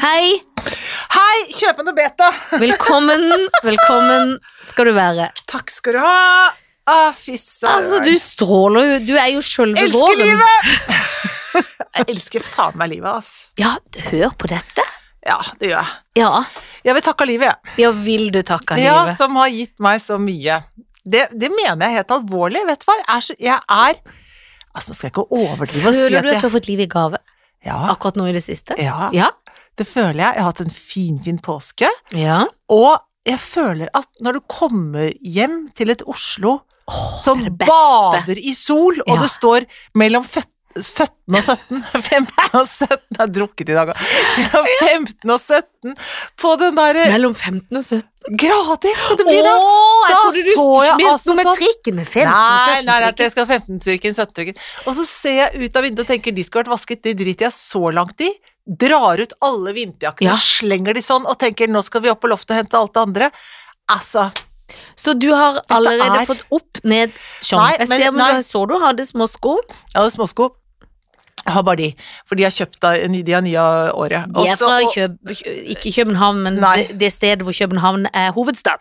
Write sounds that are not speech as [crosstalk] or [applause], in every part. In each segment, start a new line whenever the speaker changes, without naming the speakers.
Hei!
Hei, kjøpende beta!
Velkommen, velkommen skal du være.
Takk skal du ha! Å, fy søren.
Altså, du stråler jo. Du er jo sjølve
Elsker
våren.
livet!
[laughs]
jeg elsker faen meg livet, ass.
Ja, hør på dette.
Ja, det gjør jeg.
Ja,
Jeg vil takke livet, jeg.
ja vil du takke
Ja,
livet?
som har gitt meg så mye. Det, det mener jeg helt alvorlig. Vet du hva, jeg er så Jeg er Altså, nå skal jeg ikke overdrive og si
Føler du at
at
du
jeg
har fått liv i gave
ja,
akkurat nå i det siste?
ja,
Ja.
det føler jeg. Jeg har hatt en finfin fin påske.
Ja.
Og jeg føler at når du kommer hjem til et Oslo som
det er det beste.
bader i sol, og
Ja.
det står mellom føt- føttene og [laughs] 17, 15 og 17 Jeg har drukket i dag, også. Mellom 15 og 17 på den derre
Mellom 15 og 17.
Gratis skal det
Å,
bli, da!
jeg
Da
trodde du
får jeg
spilte
altså
noe med
sånn-
trikken med 15 og
Nei,
17
nei, nei, jeg
trikken.
skal ha 15-trykken, 17-trykken. Og så ser jeg ut av vinduet og tenker de skulle vært vasket, de driter jeg så langt i. Drar ut alle vinterjakkene,
Ja.
slenger de sånn og tenker nå skal vi opp på loftet og hente alt det andre. Altså,
Så du har allerede
er-
fått opp ned sånn.
Nei,
Jeg
men-
ser, men
nei.
du, så du hadde små sko.
Jeg hadde småsko. Jeg har bare de, for de har kjøpt da, de har nye av året.
De er
Også-
fra
og-
Køb... Ikke København, men
Nei.
det, det stedet hvor København er hovedstad.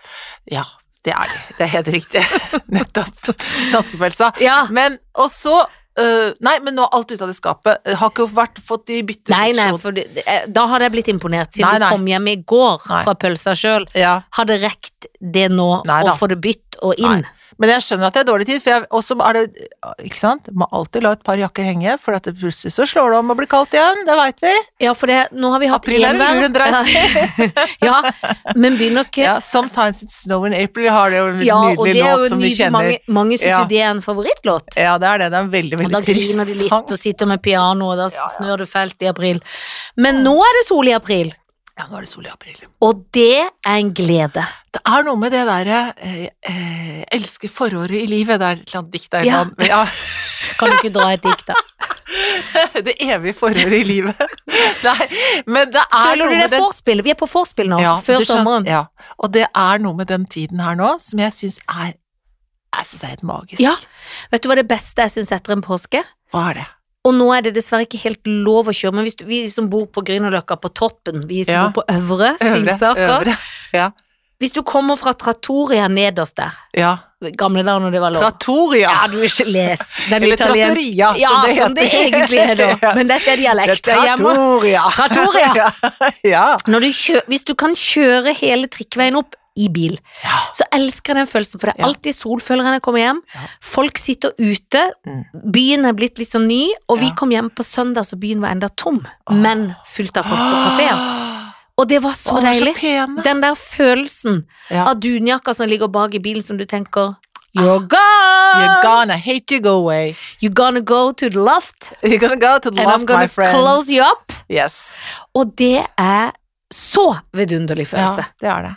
Ja, det er de. Det er helt riktig. [laughs] Nettopp. Danskepølsa.
Ja.
Men, og så øh, Nei, men nå er alt ut av det skapet. Jeg Har ikke vært, fått de bytte
Nei, nei,
seksjon.
for det, det- eh, da hadde jeg blitt imponert, siden
Nei, nei.
du kom hjem i går
Nei.
fra pølsa sjøl.
Ja.
Hadde rekt det nå
Nei
å
da.
få det bytt og inn.
Nei. Men jeg skjønner at det er dårlig tid, for jeg, og så er det Ikke sant? Må alltid la et par jakker henge, for at det plutselig så slår det om og blir kaldt igjen. Det veit vi.
Ja, for det, nå har vi hatt
April er en lur en
[laughs]
dreis.
Ja, men begynner ikke
Ja, sometimes it's snow in April. Vi har det jo en
Ja, og
nydelig
det er
låt
jo
som vi
nydelig.
kjenner.
Mange, mange syns
Ja.
jo det er en favorittlåt.
Ja, det er det. Det er en veldig,
Og da
veldig trist Sånn.
griner de litt
sang.
og sitter med piano, og da snør det fælt i april. Men nå er det sol i april,
Ja, nå er det sol i april.
og det er en glede.
Det er noe med det derre eh, eh, elsker foråret i livet. Det er et eller annet dikt der.
Ja.
nå. Ja. [laughs]
Kan du ikke dra et dikt, da?
det evige foråret i livet. [laughs] Nei, men det er
Føler
noe
du
med
det er forspill? Vi er på forspill nå,
Ja,
før
du skjønner-
sommeren.
Ja, og det er noe med den tiden her nå som jeg syns er Jeg syns det er helt magisk.
Ja. Vet du hva det beste jeg syns etter en påske?
Hva er det?
Og nå er det dessverre ikke helt lov å kjøre, men hvis du, vi som bor på Grünerløkka, på toppen, vi som
Ja.
bor på Øvre, Singsaker
øvre. Ja.
Hvis du kommer fra Trattoria nederst der,
ja.
gamle dager når det var lov
Trattoria.
Ja, du ikke les den
Eller
italienske-
trattoria,
ja,
som det
som det
heter.
egentlig er da.
[laughs] Ja.
Men dette er
Det
dialekter
er
hjemme.
Trattoria.
Trattoria.
ja. [laughs] ja.
Når du kjø hvis du kan kjøre hele trikkveien opp i bil,
Ja.
så elsker jeg den følelsen, for det er
Ja.
alltid solfølger når jeg kommer hjem.
Ja.
Folk sitter ute,
Mm.
byen er blitt litt sånn ny, og vi
Ja.
kom hjem på søndag, så byen var enda tom,
Åh.
men fylt av folk på kafeer. Og det var så
Å, det er så
deilig.
pene.
Den der følelsen
Ja. Ah,
av dunjakka som ligger bak i bilen, som du tenker You're gone!
You're gonna hate you go away.
You're gonna go to the loft,
You're gonna go to the
and I'm
left, my
gonna
friends.
close you up.
Yes.
Og det er så vidunderlig følelse.
Ja, det er det.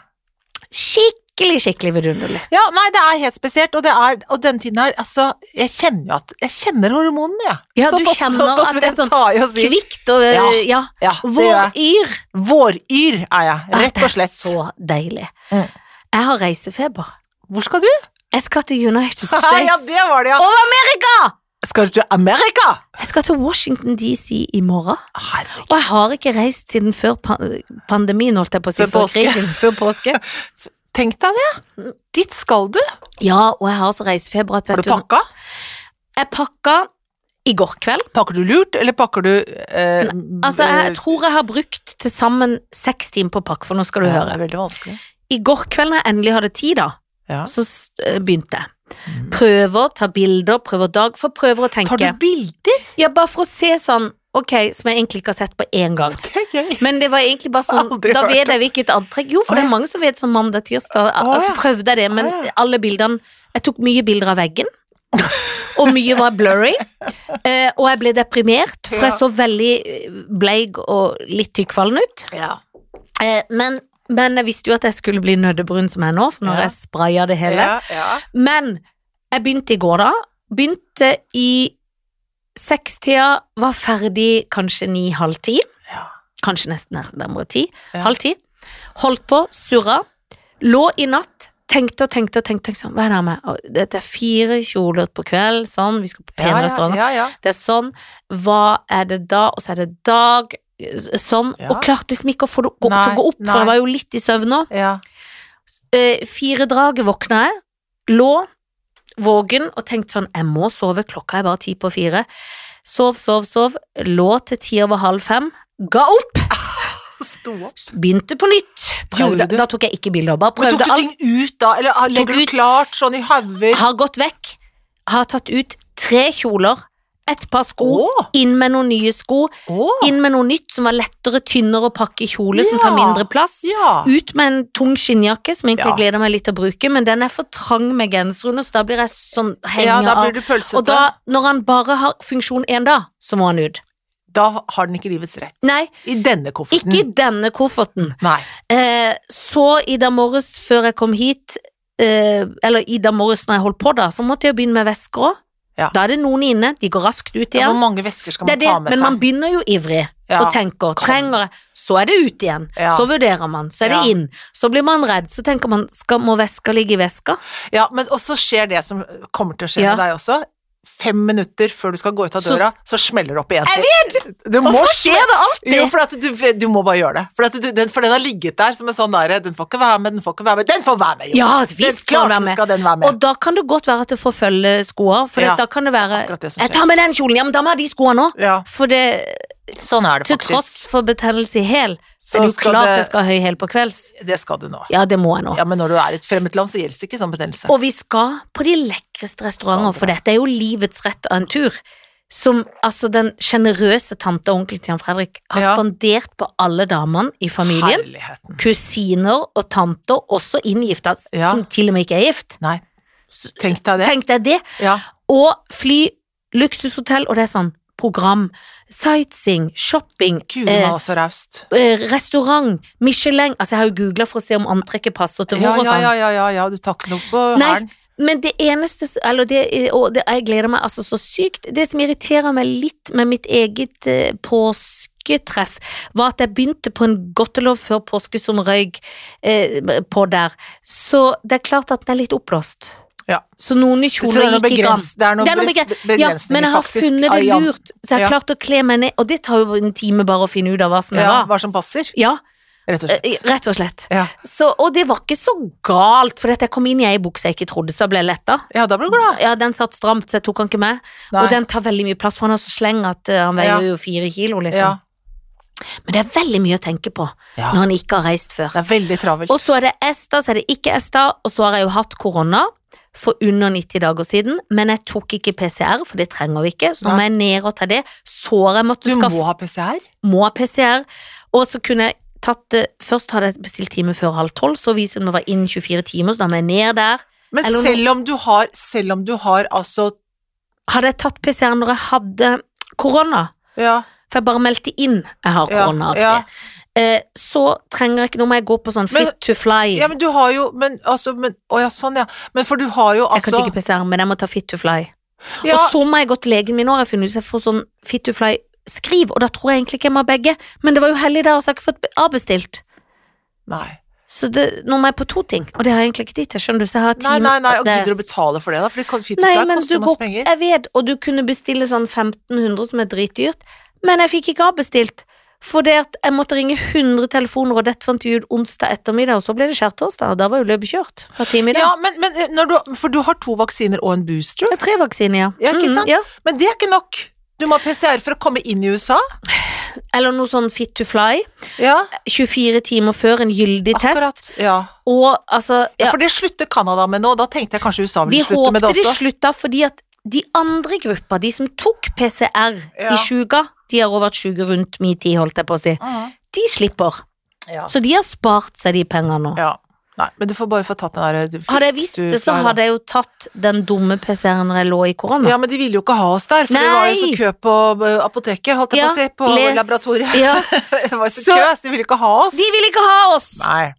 Skikkelig, skikkelig vidunderlig.
Ja, nei, det er helt spesielt, og, det er, og den tiden her, altså, jeg kjenner jo at Jeg kjenner hormonene, jeg.
Ja, du kjenner at det er sånn
ta i å si.
Kvikt og
Ja.
eh, ja.
Ja, det gjør jeg.
Våryr.
Våryr er jeg,
Ah,
rett og slett.
Det er så deilig.
Mm.
Jeg har reisefeber.
Hvor skal du? [laughs]
Jeg skal til United
ja,
States.
det var det, ja.
Og Amerika!
Skal du til Amerika?
Jeg skal til Washington DC i morgen.
Herregud.
Og jeg har ikke reist siden før pan- pandemien, holdt jeg på å si.
Før påske.
krigen, før
[laughs]
påske.
Tenk deg det. Dit skal du.
Ja, og jeg har så reisefeber at
Har
vet
du
du
pakka?
Jeg pakka i går kveld.
Pakker du lurt, eller pakker du eh,
Altså, jeg tror jeg har brukt til sammen seks timer på pakk, for nå skal du
ja, Det
høre.
er veldig vanskelig.
I går kveld, når jeg endelig hadde tid, da,
Ja.
så s- eh, begynte jeg.
Mm.
Prøver, tar bilder, prøver dag for prøver å tenke.
Tar du bilder?
Ja, bare for å se sånn, ok, som jeg egentlig ikke har sett på én gang.
[laughs] Det er gøy.
Men det var egentlig bare sånn,
Aldri
da
hørt
vet jeg hvilket antrekk Jo, for
Å,
det
ja.
er mange som vet sånn mandag, tirsdag. Al-
Å,
altså
ja.
prøvde jeg det, men
Å, ja.
alle bildene Jeg tok mye bilder av veggen. Og mye var
[laughs]
blurry. Eh, og jeg ble deprimert, for
Ja.
jeg så veldig eh, bleig og litt tykkfallen ut.
Ja.
Eh, men, men jeg visste jo at jeg skulle bli nøddebrun som jeg er nå, for nå har
Ja.
jeg spraya det hele.
Ja, ja.
Men jeg begynte i går, da. Begynte i sekstida, var ferdig kanskje ni-halv ti.
Ja.
Kanskje nesten nær- nærmere ti.
Ja.
Halv ti. Holdt på, surra. Lå i natt, tenkte og tenkte og tenkte. tenkte sånn, Hva er det her med? Og Dette er fire kjoler på kveld, sånn, vi skal på pene
Ja, ja,
restauranter.
ja, ja.
Det er sånn. Hva er det da? Og så er det dag. sånn,
Ja.
og klarte liksom ikke å få det opp,
Nei,
til å gå opp,
nei.
for jeg var jo litt i søvn nå.
Ja.
Eh, fire draget våkna jeg, lå vågen og tenkte sånn, jeg må sove, klokka er bare ti på fire. Sov, sov, sov, lå til ti over halv fem, ga opp,
Sto opp.
begynte på nytt.
Gjorde
Prøvde,
du?
da tok jeg ikke bilder, bare
Men tok
prøvde
du
alt.
ting ut da, eller ah, legger
Tok
du
ut.
klart sånn i hauger?
Har gått vekk, har tatt ut tre kjoler, et par sko,
Å,
inn med noen nye sko,
å,
inn med noe nytt som var lettere, tynnere å pakke i kjole, som
Ja.
tar mindre plass.
ja.
Ut med en tung skinnjakke, som egentlig
Ja.
gleder meg litt til å bruke, men den er for trang med genser under, så da blir jeg sånn
Ja,
henger
da
av.
blir du pølsete.
Og da, når han bare har funksjon én dag, så må han ut.
da har den ikke livets rett.
Nei,
I denne kofferten.
ikke i denne kofferten.
Nei.
Eh, så i dag morges før jeg kom hit, eh, eller i dag morges når jeg holdt på, da, så måtte jeg begynne med vesker òg.
Ja.
Da er det noen inne, de går raskt ut
Ja, Hvor
igjen.
mange vesker skal
Det
man
er det,
ta med
men
seg?
man begynner jo ivrig
Ja.
og tenker
Kom.
trenger jeg, så er det ut igjen.
Ja.
Så vurderer man, så er det
Ja.
inn. Så blir man redd, så tenker man skal, må veska ligge i veska?
Ja, men også skjer det som kommer til å skje
Ja.
med deg også. Fem minutter før du skal gå ut av
Så-
døra, så, smeller det opp igjen.
Jeg
vet! Du må
Hvorfor
smelle-
skjer det alltid?
Jo, for, at du, du må bare gjøre det. For, at du, den, for den har ligget der som en sånn derre Den får ikke være med, den får ikke være med. Den får være med! jo.
ja,
den,
visst kan
klart
det være med.
skal den være med.
Og da kan det godt være at det får følge skoa, for
Ja,
da kan det være
akkurat det som
Jeg
skjer.
tar med den kjolen, ja, men da må jeg ha de skoene òg.
Ja,
For det,
sånn er det
til
faktisk.
tross for betennelse i hæl, så
Så
er det jo
skal
klart
det-
jeg skal ha høy hæl på kvelds.
Det skal du nå.
Ja, det må jeg nå.
Ja, men når du er i et fremmed land, så gjelder det ikke sånn betennelse.
Og vi skal på de lekreste restauranter,
Skal
for dette er jo livets rett av en tur. Som altså den sjenerøse tante og onkel til Jan Fredrik har
Ja.
spandert på alle damene i familien.
Herligheten.
Kusiner og tanter, også inngifta, s-
Ja.
som til og med ikke er gift.
Nei, tenk deg det.
Tenk deg det.
Ja.
Og fly, luksushotell, og det er sånn program. Sightseeing, shopping,
Gud, hun
eh,
var så raust.
eh, restaurant, Michelin Altså, jeg har jo googla for å se om antrekket passer til
Ja,
hvor og
ja,
sånn.
ja, ja, ja, ja, du tar ikke noe på
Nei.
hælen.
Men det eneste s- Eller det, og det, jeg gleder meg altså så sykt. Det som irriterer meg litt med mitt eget eh, påsketreff, var at jeg begynte på en godtelov før påske som røyk eh, på der. Så det er klart at den er litt oppblåst.
Ja.
Så noen i
Så det er
kjoler
noe
gikk ikke an.
begrens- Det er noen
Det er noe
bes-
begre-
begrensninger,
Ja, men jeg har
faktisk,
funnet
i
det
an-
lurt, så jeg
Ja.
har klart å kle meg ned. Og det tar jo en time bare å finne ut av hva som er
Ja,
hva.
hva som passer,
Ja,
rett og
eh,
slett.
rett og slett.
Ja,
Så, og det var ikke så galt, for jeg kom inn i ei bukse jeg ikke trodde, så jeg ble letta.
ja da blir du glad.
Ja, den satt stramt, så jeg tok han ikke med.
Nei.
Og den tar veldig mye plass, for han har så sleng at eh, han
Ja.
veier jo fire kilo,
ja.
liksom. Men det er veldig mye å tenke på
ja,
når han ikke har reist før.
det er veldig travelt.
Og så er det Esta, så er det ikke Esta, og så har jeg jo hatt korona for under 90 dager siden, men jeg tok ikke PCR, for det trenger vi ikke, så nå må
Nei.
jeg ned og ta det. Sår jeg måtte
Du
skaffe
må ha PCR.
må ha PCR. Og så kunne jeg tatt det Først hadde jeg bestilt time før halv tolv, så viser det meg å være innen 24 timer, så da må jeg ned der.
Men
Eller noe-
selv om du har, selv om du har altså
Hadde jeg tatt PCR når jeg hadde korona,
Ja,
for jeg bare meldte inn jeg har
ja,
korona,
ja.
aktig, eh, så trenger jeg ikke Nå må jeg gå på sånn
Men-
fit to fly.
ja men du har jo Men altså men, Å ja, sånn ja. Men for du har jo
jeg kan
altså
ikke PCR, men jeg må ta fit to fly.
ja,
Og så må jeg gå til legen min, og jeg har funnet ut at jeg får sånn fit to fly skriv, og da tror jeg egentlig ikke jeg må ha begge, men det var jo hellig der, og så har jeg ikke fått be- avbestilt.
Nei.
Så det, nå må jeg på to ting, og det har jeg egentlig ikke tid til, skjønner du, så jeg har
Nei,
time
nei, nei, og
det-
gidder du å betale for det, da? For det
Nei,
fitoflag
men
koster
du
jo masse
går-
penger.
Jeg vet, og du kunne bestille sånn 1500 som er dritdyrt, men jeg fikk ikke avbestilt. For det at jeg måtte ringe 100 telefoner, og dette fant vi ut onsdag ettermiddag, og så ble det skjærtorsdag, og da var jo løpet kjørt fra time i dag.
Ja, men, men eh, når du For du har to vaksiner og en booster,
Det er tre vaksiner, ja.
Ja, ikke
Mhm,
sant?
ja.
men det er ikke nok. Du må ha PCR for å komme inn i USA.
Eller noe sånn fit to fly.
Ja,
24 timer før en gyldig
akkurat.
test.
Ja.
Og altså
ja,
ja,
for det slutter Canada med nå. Da tenkte jeg kanskje USA
Vi
ville slutte med
håpte
det
de
også.
slutta fordi at de andre gruppa, de som tok PCR
Ja.
i sjuga, de har også vært sjuke rundt min tid, holdt jeg på å si,
Mhm.
de slipper.
Ja.
Så de har spart seg de pengene nå.
ja. Nei, men du får bare få tatt den der
Hadde jeg visst det, så hadde jeg jo tatt den dumme PCR-en når jeg lå i korona.
Ja, men de ville jo ikke ha oss der, for det var jo så
Sånn, Nei!
kø på eh, apoteket, holdt jeg på å si, på
les-
laboratoriet.
Ja,
[laughs] Det var jo så
Så-
kø, så de ville ikke ha oss.
de vil ikke ha oss!
Nei,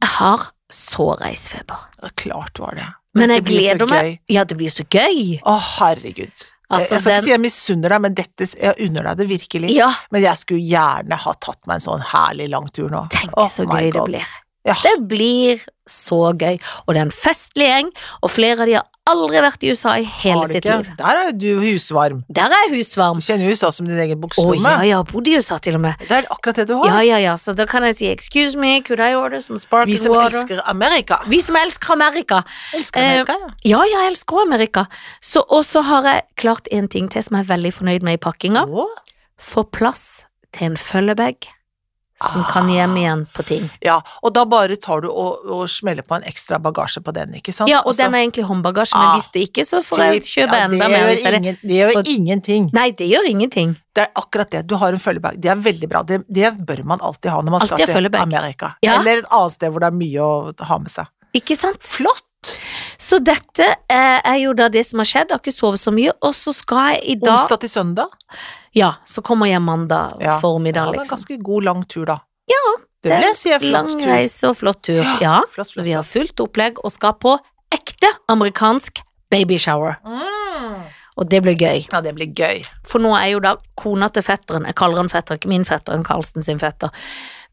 Jeg har så reisfeber.
det er klart var det.
Men jeg
Dette blir så
gleder meg.
gøy.
Ja, det blir så gøy.
Å, herregud.
Altså,
jeg skal
den-
ikke si jeg misunner deg, men dette, jeg unner deg det virkelig.
Ja,
Men jeg skulle gjerne ha tatt meg en sånn herlig lang tur nå.
tenk
Å,
så gøy
my
det
God.
blir.
Ja.
Det blir så gøy. Og det er en festlig gjeng, og flere av de har aldri vært i USA i hele
Har du
sitt
ikke?
liv.
Der er jo du husvarm.
Der er husvarm.
Du kjenner USA som din
Å
egen bukselomme.
ja, ja, bodde i USA til og med.
Det er akkurat det du har.
Ja, ja, ja, så da kan jeg si excuse me, could I order some
Vi
sparkling
som
water?
elsker Amerika.
Vi som elsker Amerika.
Elsker
Eh,
Amerika, ja.
Ja, ja, jeg elsker Amerika. Så, og så har jeg klart en ting til som jeg er veldig fornøyd med i pakkinga.
Å.
Få plass til en følgebag som
Ah.
kan hjem igjen på ting.
Ja, og da bare tar du og, og smeller på en ekstra bagasje på den, ikke sant?
Ja, og
Altså,
den er egentlig håndbagasje, men
Ah,
hvis det ikke, så får jeg
til-
kjøpe
ja,
enda mer.
Det
hvis det er
gjør,
det.
ingen, det gjør
For-
ingenting.
Nei, det gjør ingenting.
Det er akkurat det. Du har en følgebag. Det er veldig bra. Det, det bør man alltid ha når man
Alltid
skal til
følgebag.
Amerika.
Ja.
Eller et annet sted hvor det er mye å ha med seg.
Ikke sant?
Flott!
Så dette eh, er jo da det som har skjedd. Jeg har ikke sovet så mye, og så skal jeg i dag
Onsdag til søndag.
Ja, så kommer jeg mandag
Ja. Ja,
formiddag,
det er en
liksom.
ganske god, lang tur, da.
Ja,
det vil jeg si er flott
Lang
tur.
reise og flott tur. Ja.
Flott,
Så
flott.
vi har fullt opplegg og skal på ekte amerikansk babyshower.
Mm.
Og det blir gøy.
Ja, det blir gøy.
For nå er jo da kona til fetteren, jeg kaller han fetter, ikke min fetter, han Karlsen sin fetter,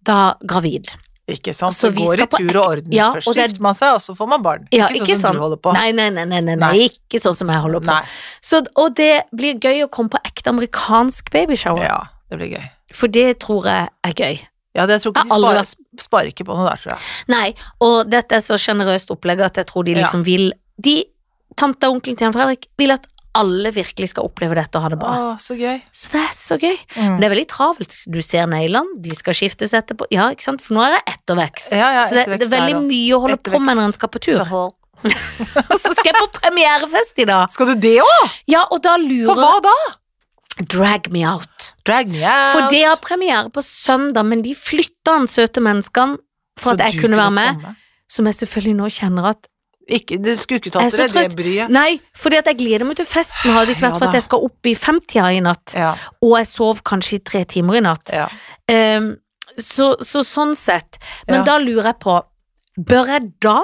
da gravid.
Ikke sant?
Så
Så
vi
går i
skal på
tur og orden.
Ja,
Først
og det er-
gifter man seg, og så får man barn.
Ja,
ikke,
ikke
sånn som
sånn.
du holder på.
Nei, nei, nei, nei, nei,
Nei.
ikke sånn som jeg holder på.
Nei.
Så, og det blir gøy å komme på ekte amerikansk babyshower,
Ja, det blir gøy.
for det tror jeg er gøy.
Ja, det, jeg tror ikke
Jeg
de
har aldri
sparer, sparer ikke på noe der, tror jeg.
Nei, og dette er så sjenerøst opplegg at jeg tror de liksom vil De, tante og onkelen til Jan Fredrik, vil at alle virkelig skal oppleve dette og ha det
Å,
bra.
så gøy.
Så det er så gøy. Men
Mm.
det er veldig travelt. Du ser neglene, de skal skiftes etterpå. Ja, ikke sant, for nå er det ettervekst.
Ja, ja,
så det, det er
ettervekst er
veldig
det.
mye å holde på med
Ettervekst.
når en skal på tur.
Så hold-
[laughs] Og så skal jeg på premierefest i dag.
Skal du det òg?
Ja, og da
På
lurer
hva da?
Drag me out.
Drag me out.
For det har premiere på søndag, men de flytta han søte menneskene for
Så
at jeg
du
kunne være med.
komme.
Som jeg selvfølgelig nå kjenner at
Ikke, du skulle ikke
Jeg er
tatt
så
deg
trøtt.
det bryet.
Nei, fordi at jeg gleder meg til festen, har det ikke vært
Ja
for at
da.
jeg skal opp i femtida i natt.
Ja,
Og jeg sov kanskje i tre timer i natt.
ja.
Ehm, så, så sånn sett. Men
Ja.
da lurer jeg på, bør jeg da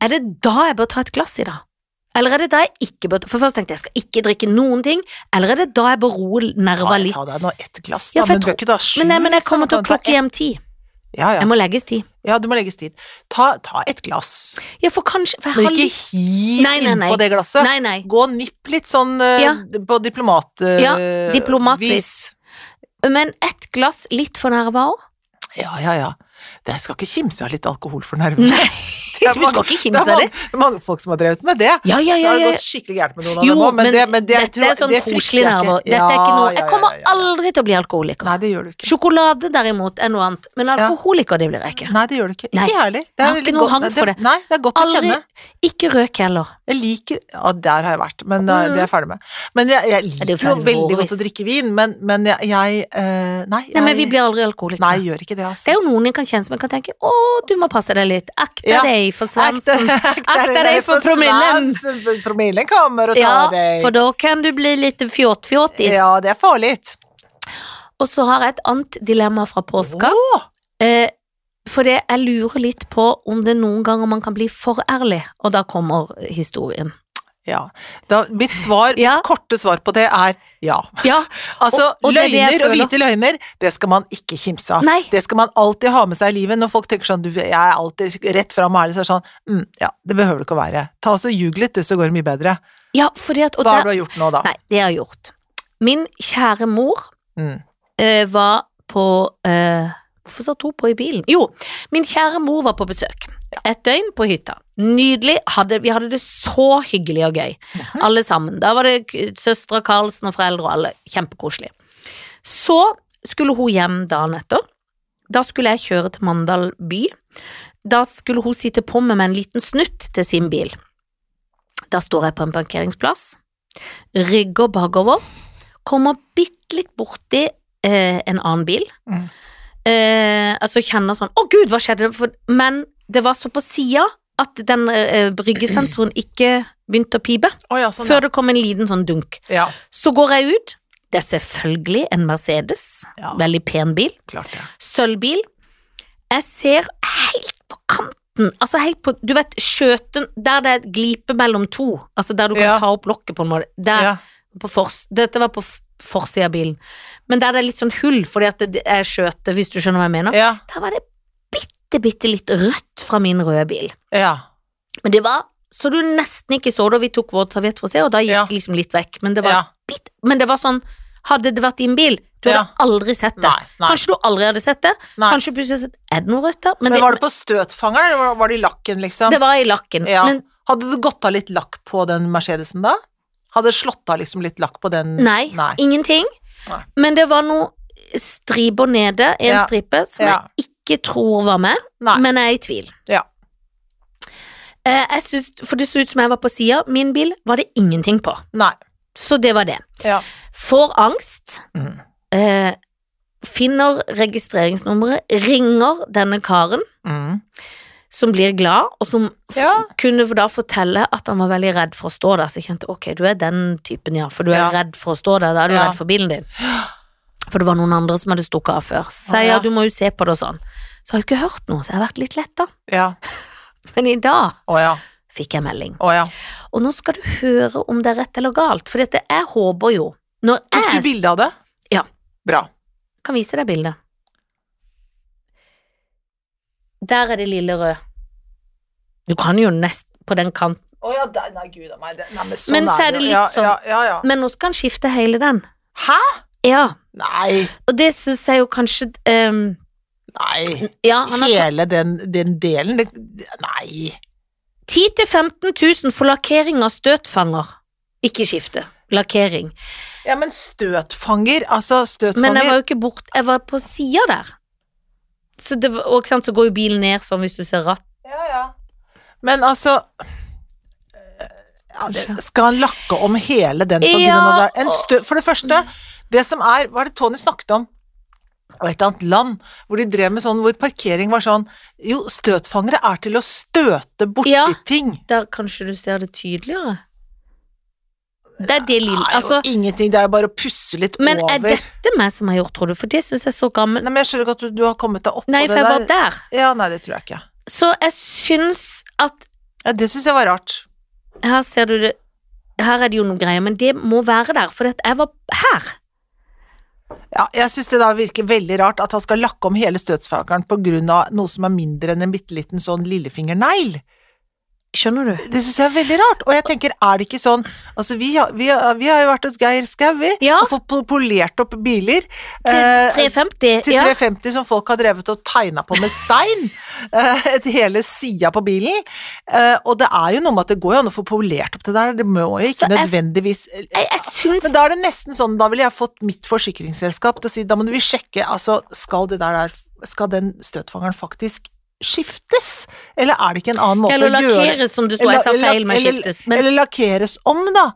Er det da jeg bør ta et glass i dag? Eller er det da jeg ikke bør For først tenkte jeg jeg skal ikke drikke noen ting. Eller er det da jeg bør roe nerva
Ta,
litt?
ta deg nå ett glass, da.
Ja, for jeg
men du
tror-
bør ikke ta sju.
Men, nei, men jeg
liksom.
kommer til å
Du kan ta
plukke hjem ti.
ett- Ja, ja.
Jeg må legges ti.
ja, du må legges dit. Ta, ta et glass,
Ja, for kanskje for jeg
men
har
ikke
litt-
hiv
Nei, nei, nei.
innpå det glasset.
Nei, nei.
Gå og nipp litt sånn eh,
Ja.
på diplomat... eh,
Ja, diplomatvis.
vis.
Men ett glass litt for nerva òg?
Ja, ja, ja. Det skal ikke kimse av litt alkohol for nervene.
Nei,
[laughs] Det er
Du
mange-
skal ikke
Det
kimse
er
av
mange,
det.
det er mange folk som har drevet med det.
Ja, ja,
Da
ja.
har det
ja.
gått skikkelig gærent med noen av
Jo,
dem òg, men,
men
det, men det,
Dette
tror
er
jeg-
sånn
det frykter
koselig
jeg
nerver.
ikke.
Dette er ikke
Ja,
noe
ja,
Jeg
ja,
kommer
ja, ja.
aldri til å bli alkoholiker.
Nei, det gjør du ikke.
Sjokolade derimot er noe annet, men alkoholiker det blir jeg ikke.
Nei, det gjør du ikke. Ikke
Nei.
jeg heller. Det
Jeg har
er
ikke
veldig
noe
godt-
hang
Nei,
for det.
Nei, det er godt å
Aldri.
kjenne.
Ikke røk heller.
Jeg liker Ja, der har jeg vært, men eh,
Mm.
det er jeg ferdig med. Men jeg, jeg
det er
liker
jo
jo
ferdig med
veldig godt
Boris.
å drikke vin, men, men jeg, jeg eh, Nei. Jeg,
Nei, men vi blir aldri alkoholikere.
Nei, jeg gjør ikke det,
Det
altså.
er jo noen en kan kjenne som en kan tenke å, du må passe deg litt. Akta
Ja.
deg for
Akta-
svansen.
akta
deg for promillen.
svansen, for Promillen kommer og tar
Ja,
deg.
for da kan du bli litt fjott-fjottis.
Ja, det er farlig.
Og så har jeg et annet dilemma fra påska.
Åh,
Eh, for det, jeg lurer litt på om det noen ganger man kan bli for ærlig, og da kommer historien.
Ja. Da, mitt svar,
Ja.
mitt korte svar på det er ja.
Ja,
Altså,
og det er det jeg
løgner og
føler.
hvite løgner, det skal man ikke kimse av.
Nei.
Det skal man alltid ha med seg i livet. Når folk tenker sånn, du, jeg er alltid rett fram og ærlig, så er det sånn, mm, ja, det behøver du ikke å være. Ta og så ljug litt, du, så går det mye bedre.
ja fordi at og
Hva
der-
har du har gjort nå, da?
Nei, det har jeg gjort. Min kjære mor
Mm.
eh, var på eh, Hvorfor satt hun på i bilen? Jo, min kjære mor var på besøk. Et døgn på hytta. Nydelig. Hadde, vi hadde det så hyggelig og gøy,
Mhm.
alle sammen. Da var det k- søstre Karlsen og foreldre og alle. Kjempekoselig. Så skulle hun hjem dagen etter. Da skulle jeg kjøre til Mandal by. Da skulle hun sitte på med meg en liten snutt til sin bil. Da står jeg på en parkeringsplass rygger bakover, kommer bitte litt borti eh, en annen bil.
Mm.
Eh, altså kjenner sånn 'Å, gud, hva skjedde?' For, men det var så på sida at den eh, bryggesensoren ikke begynte å pipe
Å ja, sånn,
før det kom en liten sånn dunk.
ja.
Så går jeg ut. Det er selvfølgelig en Mercedes.
Ja.
Veldig pen bil.
Klart det.
Sølvbil. Jeg ser helt på kanten, altså helt på Du vet skjøten der det er et glipe mellom to, altså der du kan
Ja.
ta opp lokket, på en måte. Der
Ja.
på fors, dette var på f- forsida av bilen. Men der det er litt sånn hull, fordi at det er skjøte, hvis du skjønner hva jeg mener.
ja.
Der var det bitte bitte, bitte litt rødt fra min røde bil.
Ja.
Men det var så du nesten ikke så det, og vi tok vår serviett for å se, og da gikk
Ja.
det liksom litt vekk. Men det var,
ja.
bitt, men det var sånn Hadde det vært din bil, du hadde
Ja.
aldri sett det.
Nei, nei.
Kanskje du aldri hadde sett det.
Nei.
Kanskje plutselig hadde sett Er det noe rødt der? Men,
Men var det
det,
på støtfangeren, eller var- var det i lakken, liksom?
det var i lakken.
ja.
Men
Hadde det gått av litt lakk på den Mercedesen da? Hadde det slått av liksom litt lakk på den?
nei,
Nei.
ingenting.
Nei.
Men det var noe striper nede, en
Ja.
stripe, som
Ja.
jeg ikke tror var med,
Nei.
men jeg er i tvil.
Ja.
Eh, jeg synes, for det så ut som jeg var på sida. Min bil var det ingenting på.
Nei.
Så det var det.
Ja.
Får angst.
Mm.
eh, finner registreringsnummeret, ringer denne karen,
Mm.
som blir glad, og som f
Ja.
kunne da fortelle at han var veldig redd for å stå der. Så jeg kjente ok, du er den typen, ja, for du er
Ja.
redd for å stå der, da er du
Ja.
redd for bilen din. For det var noen andre som hadde stukket av før. Så
Å,
jeg,
ja.
ja, du må jo se på det og sånn. Så har jeg ikke hørt noe, så jeg har vært litt letta.
Ja.
Men i dag
Å ja.
fikk jeg melding.
Å ja.
Og nå skal du høre om det er rett eller galt, for dette jeg håper jo Når
Tok
jeg
du bilde av det?
Ja.
Bra.
Kan vise deg bildet. Der er det lille rød. Du kan jo nest på den kanten,
Å ja, der, nei, gud a meg. det- Nei, men sånn
Men så er det
jo.
litt
ja,
sånn-
Ja, ja, ja.
men nå skal han skifte hele den.
Hæ?
Ja,
Nei.
og det syns jeg jo kanskje ehm,
Nei.
Ja, han har tatt
Hele den, den delen det, det- Nei.
10 000-15 000 for lakkering av støtfanger. Ikke skifte, lakkering.
Ja, men støtfanger, altså
Men jeg var
støtfanger
jo ikke bort, jeg var på sida der. Så, det var, og, ikke sant, så går jo bilen ned sånn hvis du ser ratt.
Ja, ja. Men altså ja, det, Skal han lakke om hele den på
Ja,
grunn av det? En
og-
stø, for det første, det som er Hva er det Tony snakket om? Det var et eller annet land hvor de drev med sånn, hvor parkering var sånn Jo, støtfangere er til å støte borti
Ja.
ting.
Der kanskje du ser det tydeligere. Det er det
Det
lille
er
Altså,
jo ingenting, det er jo bare å pusse litt
Men er
over.
dette meg som har gjort, tror du? For det syns jeg er så gammel
Nei, men jeg skjønner ikke at du, du har kommet deg opp
Nei,
på
for jeg var
det der.
der.
Ja, nei, det tror jeg ikke.
Så jeg syns at
Ja, det syns jeg var rart.
Her ser du det Her er det jo noen greier, men det må være der, for at jeg var her.
Ja, jeg syns det da virker veldig rart at han skal lakke om hele støtfangeren på grunn av noe som er mindre enn en bitte liten sånn lillefingernegl.
Skjønner du?
Det syns jeg er veldig rart, og jeg tenker er det ikke sånn Altså, vi har, vi har, vi har jo vært hos Geir Skau, vi,
Ja.
og fått po- polert opp biler. eh,
Til 350.
til
Ja.
350 som folk har drevet og tegna på med stein. [laughs] eh, Et hele sida på bilen. Eh, Og det er jo noe med at det går jo an å få polert opp det der, det må jo
Så
ikke
jeg-
nødvendigvis eh,
Jeg, jeg syns
men da er det nesten sånn, da ville jeg fått mitt forsikringsselskap til å si da må vi sjekke, altså skal det der der, skal den støtfangeren faktisk skiftes? Eller er det ikke en annen måte
Eller
å gjøre
lakkeres, som det sto. Jeg sa
Eller-
feil med
eller-
skiftes. Men
Eller lakkeres om, da.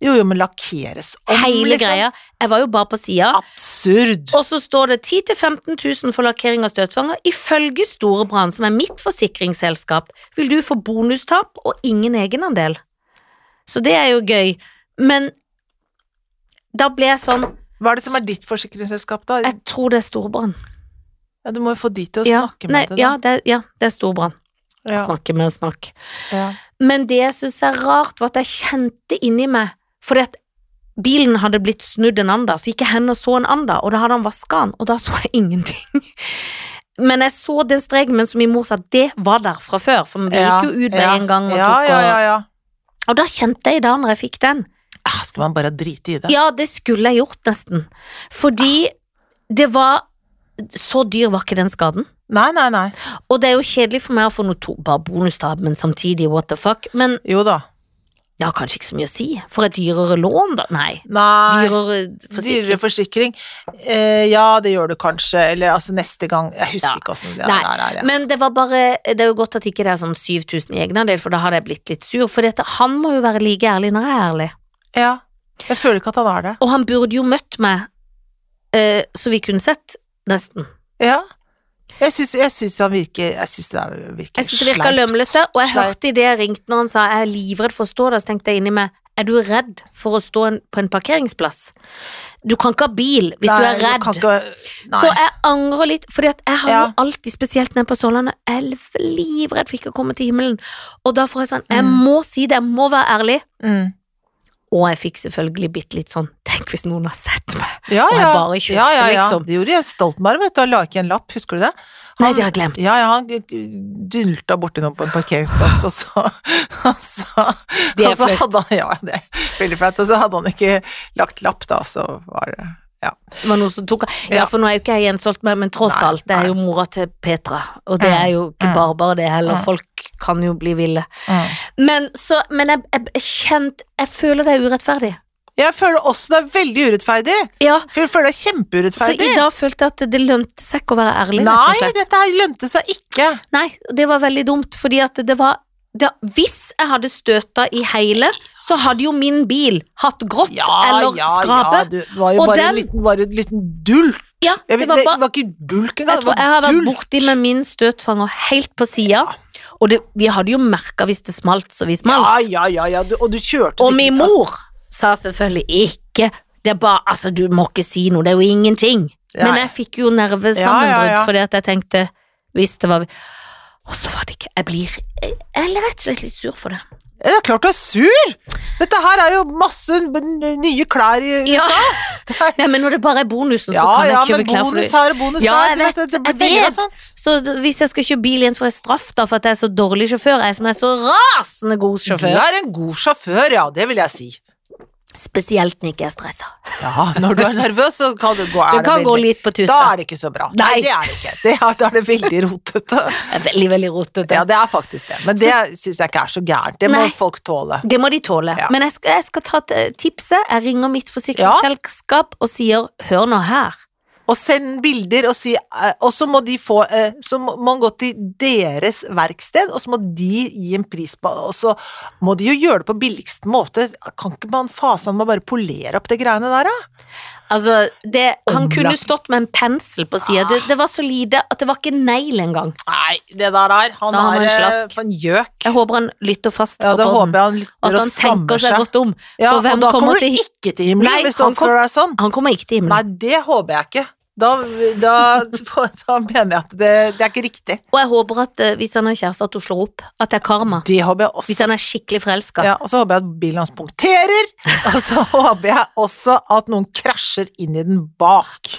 Jo, jo, men lakkeres om,
hele
liksom.
greia Jeg var jo bare på sida.
Absurd.
Og så står det 10 000-15 000 for lakkering av støtfanger. Ifølge Storebrand, som er mitt forsikringsselskap, vil du få bonustap og ingen egenandel. Så det er jo gøy. Men da ble jeg sånn
Hva er det som er ditt forsikringsselskap, da?
Jeg tror det er Storebrand.
Ja, du må jo få de til å
Ja,
snakke
nei,
med deg, da.
ja, det, er- ja, det er Storebrand.
Ja,
Snakke med snakk.
ja.
Men det jeg syns er rart, var at jeg kjente inni meg Fordi at bilen hadde blitt snudd en annen dag, så gikk jeg hen og så en annen dag, og da hadde han vaska den, og da så jeg [laughs] ingenting. Men jeg så den streken, men som min mor sa, det var der fra før, for vi
Ja,
gikk jo ut med
ja,
en gang og
ja,
tok
ja, ja, ja.
og Og da kjente jeg i dag når jeg fikk den.
Ah, Skal man bare drite i det?
Ja, det skulle jeg gjort, nesten. Fordi det var Så dyr var ikke den skaden.
Nei, nei, nei.
Og det er jo kjedelig for meg å få noe to, bare bonustap, men samtidig what the fuck. Men
Jo da.
det har kanskje ikke så mye å si. For et dyrere lån, da? Nei.
Nei.
dyrere
Dyrere
forsikring.
forsikring. Eh, ja, det gjør du kanskje, eller altså neste gang Jeg husker
Ja.
ikke åssen det
Nei,
der er. ja.
Men det var bare Det er jo godt at ikke det er sånn 7000 i egenandel, for da hadde jeg blitt litt sur. For dette, han må jo være like ærlig når jeg er ærlig.
Ja. Jeg føler ikke at han er det.
Og han burde jo møtt meg, eh, så vi kunne sett, nesten.
Ja. Jeg syns, jeg syns han virker Jeg syns det er- virker
Jeg synes det virka
sleipt.
lømlete, og jeg
Sleipt.
hørte idet jeg ringte når han sa jeg er livredd for å stå der, så tenkte jeg inni meg er du redd for å stå en, på en parkeringsplass? Du kan ikke ha bil hvis du
Nei,
er redd.
kan ikke- nei.
Så jeg angrer litt, fordi at jeg har jo
Ja.
alltid, spesielt nede på Sørlandet, jeg er livredd for ikke å komme til himmelen. Og da får jeg sånn, jeg
Mm.
må si det, jeg må være ærlig.
mm.
Og jeg fikk selvfølgelig bitte litt sånn Tenk hvis noen har sett meg!
Ja,
Og jeg
ja.
bare kjøpte,
ja, ja, ja.
liksom.
Det gjorde jeg Stoltenberg, vet du. Han la ikke igjen lapp, husker du det?
Nei,
Han-
det har jeg glemt.
Ja, ja, han dulta borti noen på en parkeringsplass, og så, [laughs] og så,
Det er
og så
flaut.
hadde han Ja, det er veldig flaut. Og så hadde han ikke lagt lapp, da, så var det Ja.
Det var noen som tok av Ja,
Ja.
for nå er jo ikke jeg gjensolgt meg, men tross
Nei,
alt, det er
nei.
jo mora til Petra, og det er jo ikke
Mm.
bare bare det heller.
Mm.
Folk kan jo bli ville.
Mm.
Men, så, men jeg, jeg kjent Jeg føler det er urettferdig.
Jeg føler også det er veldig urettferdig.
Ja,
For jeg føler det er
så i
kjempeurettferdig.
dag følte jeg at det lønte seg ikke å være ærlig, rett og
Nei,
slett.
dette her lønte seg ikke.
Nei, det var veldig dumt, fordi at det var det, Hvis jeg hadde støta i hele, så hadde jo min bil hatt grått eller skrape.
Ja, du, det var jo
Og
bare, en
den-
liten, bare en liten dult.
Ja,
Jeg
det
vet,
var
det,
bare-
var ikke bulk engang.
Jeg tror
det var
jeg har vært
dult.
borti med min støtfanger helt på sida, og det, vi hadde jo merka hvis det smalt, så vi
Ja,
smalt.
ja, ja, ja. Du, og du kjørte
Og
sikkert-
min mor sa selvfølgelig ikke det er bare, altså Du må ikke si noe, det er jo ingenting.
Nei.
Men jeg fikk jo
Ja,
nervesammenbrudd
ja, ja.
fordi at jeg tenkte Hvis det var Og så var det ikke Jeg blir jeg jeg er rett og slett litt sur for det.
altså. Ja, Det er klart du er sur! Dette her er jo masse n- nye klær i
Ja.
[laughs] USA. Det er-
Nei, men når det bare er bonusen, så
Ja,
kan jeg
ja,
kjøpe
men
klær for
bonus her og bonus
Ja,
der.
jeg
Du vet,
vet,
det blir
jeg
veldig mye
vet.
sånt.
Så d- hvis jeg skal kjøpe bil igjen, så får jeg straff da for at jeg er så dårlig sjåfør. Jeg som er så rasende god
Du
sjåfør.
er en god sjåfør, ja, det vil jeg si.
Spesielt når jeg ikke er stressa.
Ja, når du er nervøs, så kan du gå,
Det
er det
kan gå
veldig-
litt på tusen.
Da er det ikke så bra.
Nei.
det er det ikke. Det er, da er det veldig rotete.
Det er veldig, veldig rotete.
Ja, det er faktisk det. Men det syns jeg ikke er så gærent. Det må
Nei.
folk tåle.
Det må de tåle.
Ja.
Men jeg skal, jeg skal ta t- tipset. Jeg ringer mitt forsikringsselskap og sier 'hør nå her'.
Og send bilder og si eh, Og så må de få eh, Så må må man gå til deres verksted, og så må de gi en pris på Og så må de jo gjøre det på billigste måte. Kan ikke man fasen med å bare polere opp de greiene der, da?
Altså, det, han
Omlagt.
kunne stått med en pensel på sida. Det, det var så lite at det var ikke negl engang.
Nei, det der der Han
Så har man
er eh,
slask.
for en gjøk.
Jeg håper han lytter fast
Ja,
på
det
podden.
håper jeg han
Og
lytter
at
og
han tenker
skammer
seg
seg.
godt om.
Ja,
for
og
hvem
da
kommer
kommer du
til hi-
ikke til himmelen
Nei,
hvis du
han kom-
oppfører deg sånn.
Han kommer ikke til himmelen.
Nei, det håper jeg ikke. Da, da, [laughs] da mener jeg at det, det er ikke riktig.
Og jeg håper at eh, hvis han har kjæreste, at hun slår opp. At det er karma.
Det håper jeg også.
Hvis han er skikkelig forelska.
Ja, og så håper jeg at bilen hans punkterer, og
[laughs]
så håper jeg også at noen krasjer inn i den bak.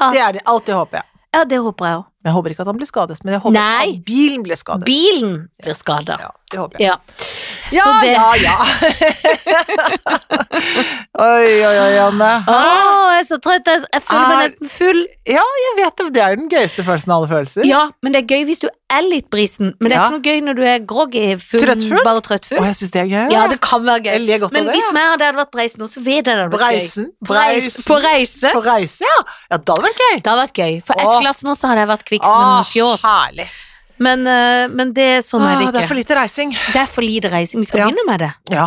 Ah.
Det er det, alt det håper jeg.
Ja, det håper jeg òg.
Men jeg håper ikke at han blir skadet, men jeg håper
Nei.
at bilen blir skadet.
Bilen blir skada.
Ja, det håper jeg.
Ja.
Ja,
Så det
ja, ja. [laughs] oi, oi, oi, Anne.
Å, jeg er så trøtt. Jeg jeg føler meg
Er-
nesten full.
Jeg vet det, det er jo den gøyeste følelsen av alle følelser.
Ja, men det er gøy hvis du er litt brisen. Men det er
Ja.
ikke noe gøy når du er groggy, full,
Trøttfull?
bare trøttfull.
Og jeg synes det er gøy.
Ja, det kan være
Jeg
gøy.
ler godt
Men
av det.
hvis vi hadde vært på reise nå, så vet jeg det hadde
På
vært gøy.
reisen.
På reis- På reise.
På reise, ja. Ja, det hadde vært gøy.
Det hadde vært gøy. For ett
Åh.
glass nå, så hadde jeg vært kvikk som en fjås.
herlig.
Men, eh, men det er sånn er
Åh, det
det
er for
ikke.
lite reising.
Det er for lite reising. Vi skal
Ja.
begynne med det.
Ja,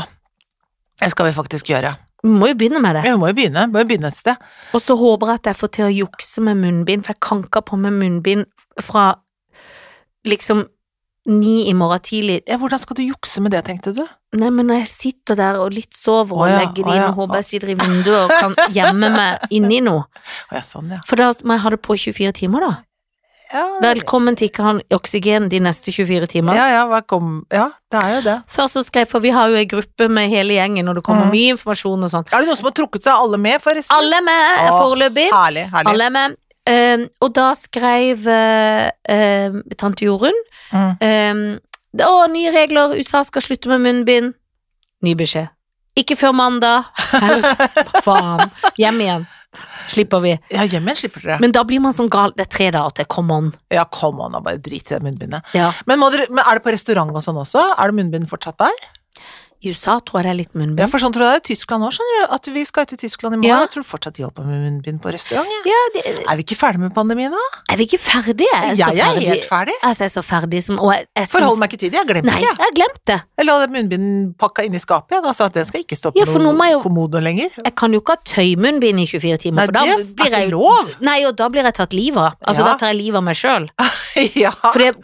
det skal vi faktisk gjøre.
Vi må jo begynne med det.
Vi må jo begynne, må jo begynne et sted.
Og så håper jeg at jeg får til å jukse med munnbind, for jeg kanker på med munnbind fra liksom ni i morgen tidlig.
Ja, hvordan skal du jukse med det, tenkte du?
Nei, men når jeg sitter der og litt sover og
Å ja,
legger det
å
inn
ja,
og håper jeg sitter i vinduet og kan gjemme meg inni noe.
Å ja, sånn ja.
For da må jeg ha det på 24 timer, da.
Ja,
Velkommen til ikke ha oksygen de neste 24 timer.
ja, ja, velkommen. Ja, det er jo det.
Først så skrev For vi har jo ei gruppe med hele gjengen, og det kommer
Mhm.
mye informasjon og sånn.
Er det noen som har trukket seg alle med, forresten?
Alle er med eh,
Å,
foreløpig.
Herlig, herlig.
Alle er med. Eh, og da skrev eh, eh, tante Jorunn
Mm.
Um, det- å, nye regler, USA skal slutte med munnbind. Ny beskjed. Ikke før mandag.
[laughs]
Ellers, faen. Hjem igjen. Slipper vi.
Ja, hjemmen slipper dere.
Men da blir man sånn gal. Det er tre dager til. Come on.
Ja, kom an, da, bare drit i det munnbindet.
Ja.
Men, må dere, men er det på restaurant og sånn også? Er det munnbind fortsatt der?
I USA tror jeg det er litt
Ja,
munnbind.
for sånn tror jeg det er i Tyskland òg, skjønner du. At vi skal til Tyskland i morgen.
Ja.
Jeg tror fortsatt de holder på med munnbind på restaurant. Ja.
Ja, det,
Er vi ikke ferdig med pandemien, da?
er vi ikke ferdige? Jeg er så
Jeg er
ferdig.
helt ferdig.
Altså, jeg er så ferdig som og jeg, jeg syns-
Forhold meg ikke til det, jeg glemmer
Nei,
det.
jeg
jeg.
har glemt det.
Jeg la det munnbindpakka inni skapet, jeg, da, så at den skal ikke stå på
Ja, for nå må
noen
jeg jo-
kommodo lenger. [laughs]
Jeg kan jo ikke ha tøymunnbind i 24 timer,
Nei,
for da
det er
blir jeg
ikke lov.
Nei, og da blir jeg tatt livet av. Altså,
Ja. Ah,
da tar jeg livet av meg sjøl.
ja.
For det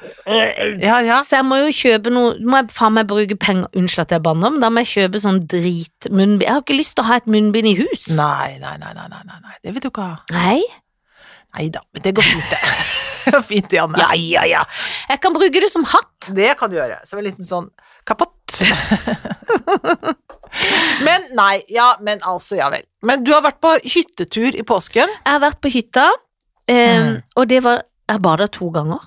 ja, ja.
Så jeg må jo kjøpe noe Må jeg faen meg bruke penger Unnskyld at jeg banner Men da må jeg kjøpe sånn dritmunnbind Jeg har ikke lyst til å ha et munnbind i hus
Nei, nei, nei, nei, nei, nei, nei. det vil du ikke ha.
Nei
Nei da, men det går fint, det. [laughs] det. går fint, Janne.
Ja, ja, ja Jeg kan bruke det som hatt
Det kan du gjøre. Som en liten sånn kapott. [laughs] Men nei, ja, men altså, ja vel. Men du har vært på hyttetur i påsken.
Jeg har vært på hytta, eh,
Mm.
og det var Jeg bada to ganger.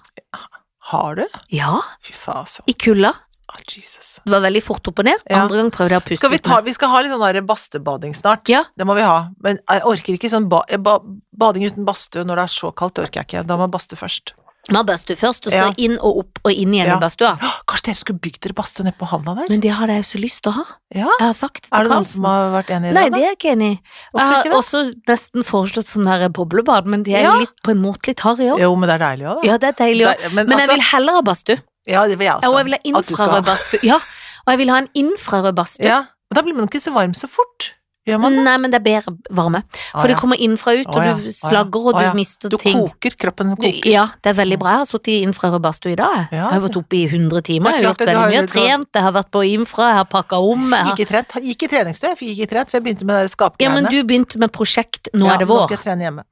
Har du?
Ja,
Fy fasen.
i kulda.
Ah, Jesus.
Det var veldig fort opp og ned.
Ja.
Andre gang prøvde jeg å puste
Skal vi,
ut
ta,
meg.
vi skal ha litt sånn der badstebading snart.
Ja.
Det må vi ha. Men jeg orker ikke sånn ba, ba, bading uten badstue når det er så kaldt. Det orker jeg ikke. Da må jeg badstue først.
Man badstue først, og så
Ja.
inn og opp og inn igjen
Ja.
i badstua.
Å, Kanskje dere skulle bygd dere badstue nede på havna der?
Men det hadde jeg jo så lyst til å ha.
Ja.
Jeg har sagt det til
Er det noen
Karlsen.
som har vært enig i
Nei,
det?
det er jeg ikke enig i.
da?
Jeg
Hvorfor
har
ikke det?
også nesten foreslått sånn her boblebad, men det er
Ja.
jo litt, på en måte litt harry òg.
Jo, men det er deilig òg, da.
Ja, det er deilig òg.
Det er-
Men jeg
altså-
vil heller ha badstue.
Ja, det vil jeg også.
Og jeg vil ha
At du skal ha-
infrarød badstue. Ja, og jeg vil ha en infrarød badstue.
Ja, men da blir man ikke så varm så fort. Gjør man det?
Nei, men det er bedre varme.
Ah,
Mm, For det
ja.
kommer innenfra ut,
Å, ja.
og
Å, ja.
du slagger, og
Å, ja.
du mister
Du
ting.
koker, kroppen
Du,
koker.
ja, det er veldig bra. Jeg har sittet i infrarød badstue i dag. jeg.
Ja.
Jeg har vært oppe i 100 timer,
Det
jeg har
er klart
gjort
det, du
veldig
har-
mye. Jeg har
du har-
trent, jeg har vært på infra, jeg har pakka om. Jeg
Gikk
har...
i, trent, gikk i treningstøy, for jeg gikk i trent, for jeg begynte med det
Ja,
skapegreiene.
men du begynte med prosjekt, nå
Ja,
er det
Nå
vår.
skal jeg trene hjemme.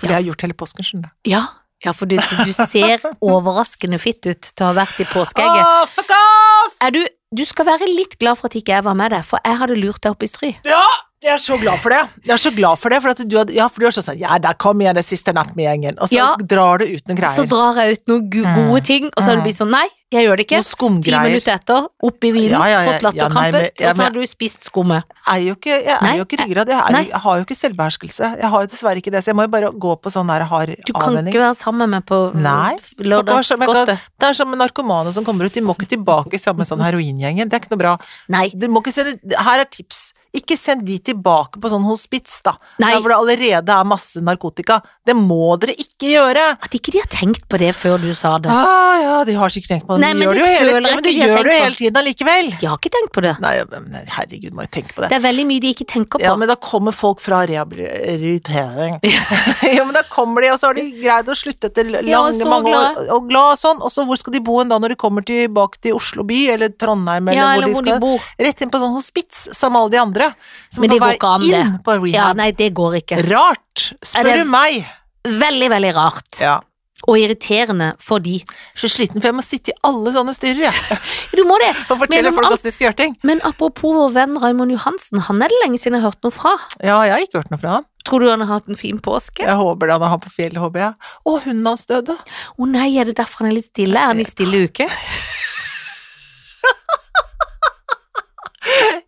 For
Ja.
det har jeg gjort hele påsken, skjønner du.
Ja, ja for du, du ser overraskende fitt ut til å ha vært i påskeegget.
Åh, fuck off!
Er du, du skal være litt glad for at ikke jeg var med deg, for jeg hadde lurt deg opp i stry.
Ja, jeg er så glad for det. Jeg er så glad for det, for at du hadde, ja, for du har sånn sånn, ja, der kom igjen det siste natt med gjengen, og så
Ja.
drar du ut noen
Så
greier.
drar jeg ut noen gu-
Mm.
gode ting, og så har du blitt sånn nei, jeg gjør det ikke.
Noen
Ti
skumgreier.
minutter etter, opp i vinen,
Ja, ja, ja,
fått
ja, nei,
latterkrampe,
men- ja,
og så
men-
har du spist skummet.
Jeg er jo ikke, jeg er
Nei.
jo ikke ryggrad, jeg, er,
Nei.
jo- jeg har jo ikke selvbeherskelse. Jeg har jo dessverre ikke det, så jeg må jo bare gå på sånn der hard
Du kan ikke
avvenning.
være sammen med meg på
Nei, men kan-
lørdagsgodtet.
Det er som med narkomane som kommer ut, de må ikke tilbake sammen med sånn heroingjengen, det er ikke noe bra.
Nei.
Du må ikke sende, her er tips, ikke send de tilbake på sånn hospits da,
Nei.
der hvor det allerede er masse narkotika. Det må dere ikke gjøre!
At ikke de har tenkt på det før du sa det.
Ah, ja, de har sikkert tenkt på det.
Nei,
de
men
gjør
det
det jo hele,
føler jeg
ja, men de
ikke de har
gjør det jo
tenkt på.
hele tiden allikevel.
De har ikke tenkt på det.
Nei, men herregud, må jo tenke på det.
Det er veldig mye de ikke tenker på.
Ja, men da kommer folk fra rehabilitering. [laughs] jo, men da kommer de, og så har de greid å slutte etter lange,
Ja, og så
mange år,
glad.
og glad og sånn, og så hvor skal de bo en da når de kommer tilbake til Oslo by, eller Trondheim, eller,
Ja,
hvor,
eller
de
hvor de
skal?
bor.
Rett inn på sånn hospits, som alle de andre, som
Men
er
det
på
går ikke an,
vei inn på
Ja,
rehab.
nei, det går ikke.
Rart,
Er
spør
det-
du meg.
Veldig, veldig rart.
Ja.
Og irriterende for de.
Så sliten, for jeg må sitte i alle sånne styrer, jeg, [laughs]
Du må det!
og fortelle
Men om
folk
alt-
hvordan de skal gjøre ting.
Men apropos vår venn Raymond Johansen, han er det lenge siden jeg har hørt noe fra.
Ja, jeg har ikke hørt noe fra han.
Tror du han har hatt en fin påske? Å
Jeg håper det han har på fjellet, håper jeg. Å, hunden hans døde.
nei, er det derfor han er litt stille? Er han i stille uke?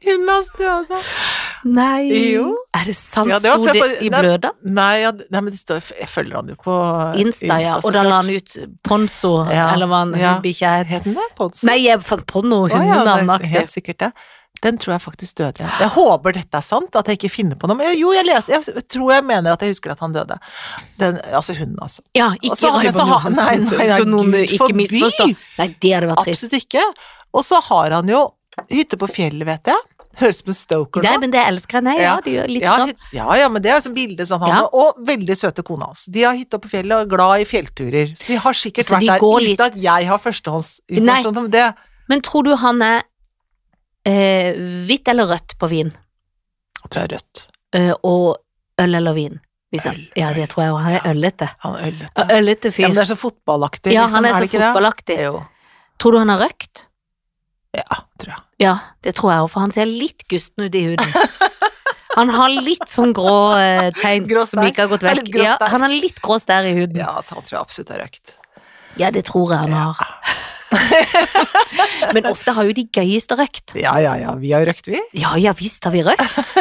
Hunden hans døde.
Nei.
Jo.
Er det sant?
Ja, det var
Sto
før
det
på-
i
Nei.
bløda?
Nei, ja, nei, men det står, jeg følger han jo på
Insta, ja. Og da la han ut Ponzo,
Ja,
eller hva han
ja.
bikkja het.
Het den det? Ponsen?
Nei, jeg fant på noe
det er helt
hundenavnaktig.
sikkert det. Den tror jeg faktisk døde. ja. Jeg håper dette er sant, at jeg ikke finner på noe. Men jo, jeg leste Jeg tror jeg mener at jeg husker at han døde. Den, altså hunden, altså.
Ja,
Og
ikke
så har- men så
Raymond
har- nei,
Johansen,
nei,
så-
nei,
så noen
Gud
ikke
forby!
misforstår. Nei, det hadde vært trist.
Absolutt ikke. Og så har han jo hytte på fjellet, vet jeg. Høres ut som Stoker
Nei, men det elsker jeg. Nei, ja, det gjør litt
ja,
grann.
hyt- ja, ja, men det er sånn bilde sånn han
Ja.
har, Og veldig søte kona hans. De har hytta på fjellet og er glad i fjellturer. Så de har sikkert
Så Altså, de
vært der
går
uten
litt-
at jeg har førstehåndsinformasjon om det.
Men tror du han er eh, hvitt eller rødt på vin?
Jeg tror jeg er rødt.
Eh, og øl eller vin? Hvis han,
Øl,
ja, det tror jeg også. Han er øllete.
Han er øllete.
Og Øllete fyr.
Ja, men det er så fotballaktig,
Ja,
liksom.
han er så
det ikke det?
fotballaktig.
Jo.
Tror du han har røkt?
Ja, tror jeg.
Ja, det tror jeg òg, for han ser litt gusten ut i
[laughs]
huden. Han har litt sånn grå eh, tegn
Grå
som ikke har gått
Er
vekk.
litt grå
ja,
stær.
han har litt grå stær i huden. Ja.
Ja, han tror jeg absolutt er røkt.
det tror jeg han har. [laughs]
[laughs]
Men ofte har jo de gøyeste røkt.
Ja, ja, ja, vi har røkt, vi.
Ja, ja visst har vi
[laughs]
røkt.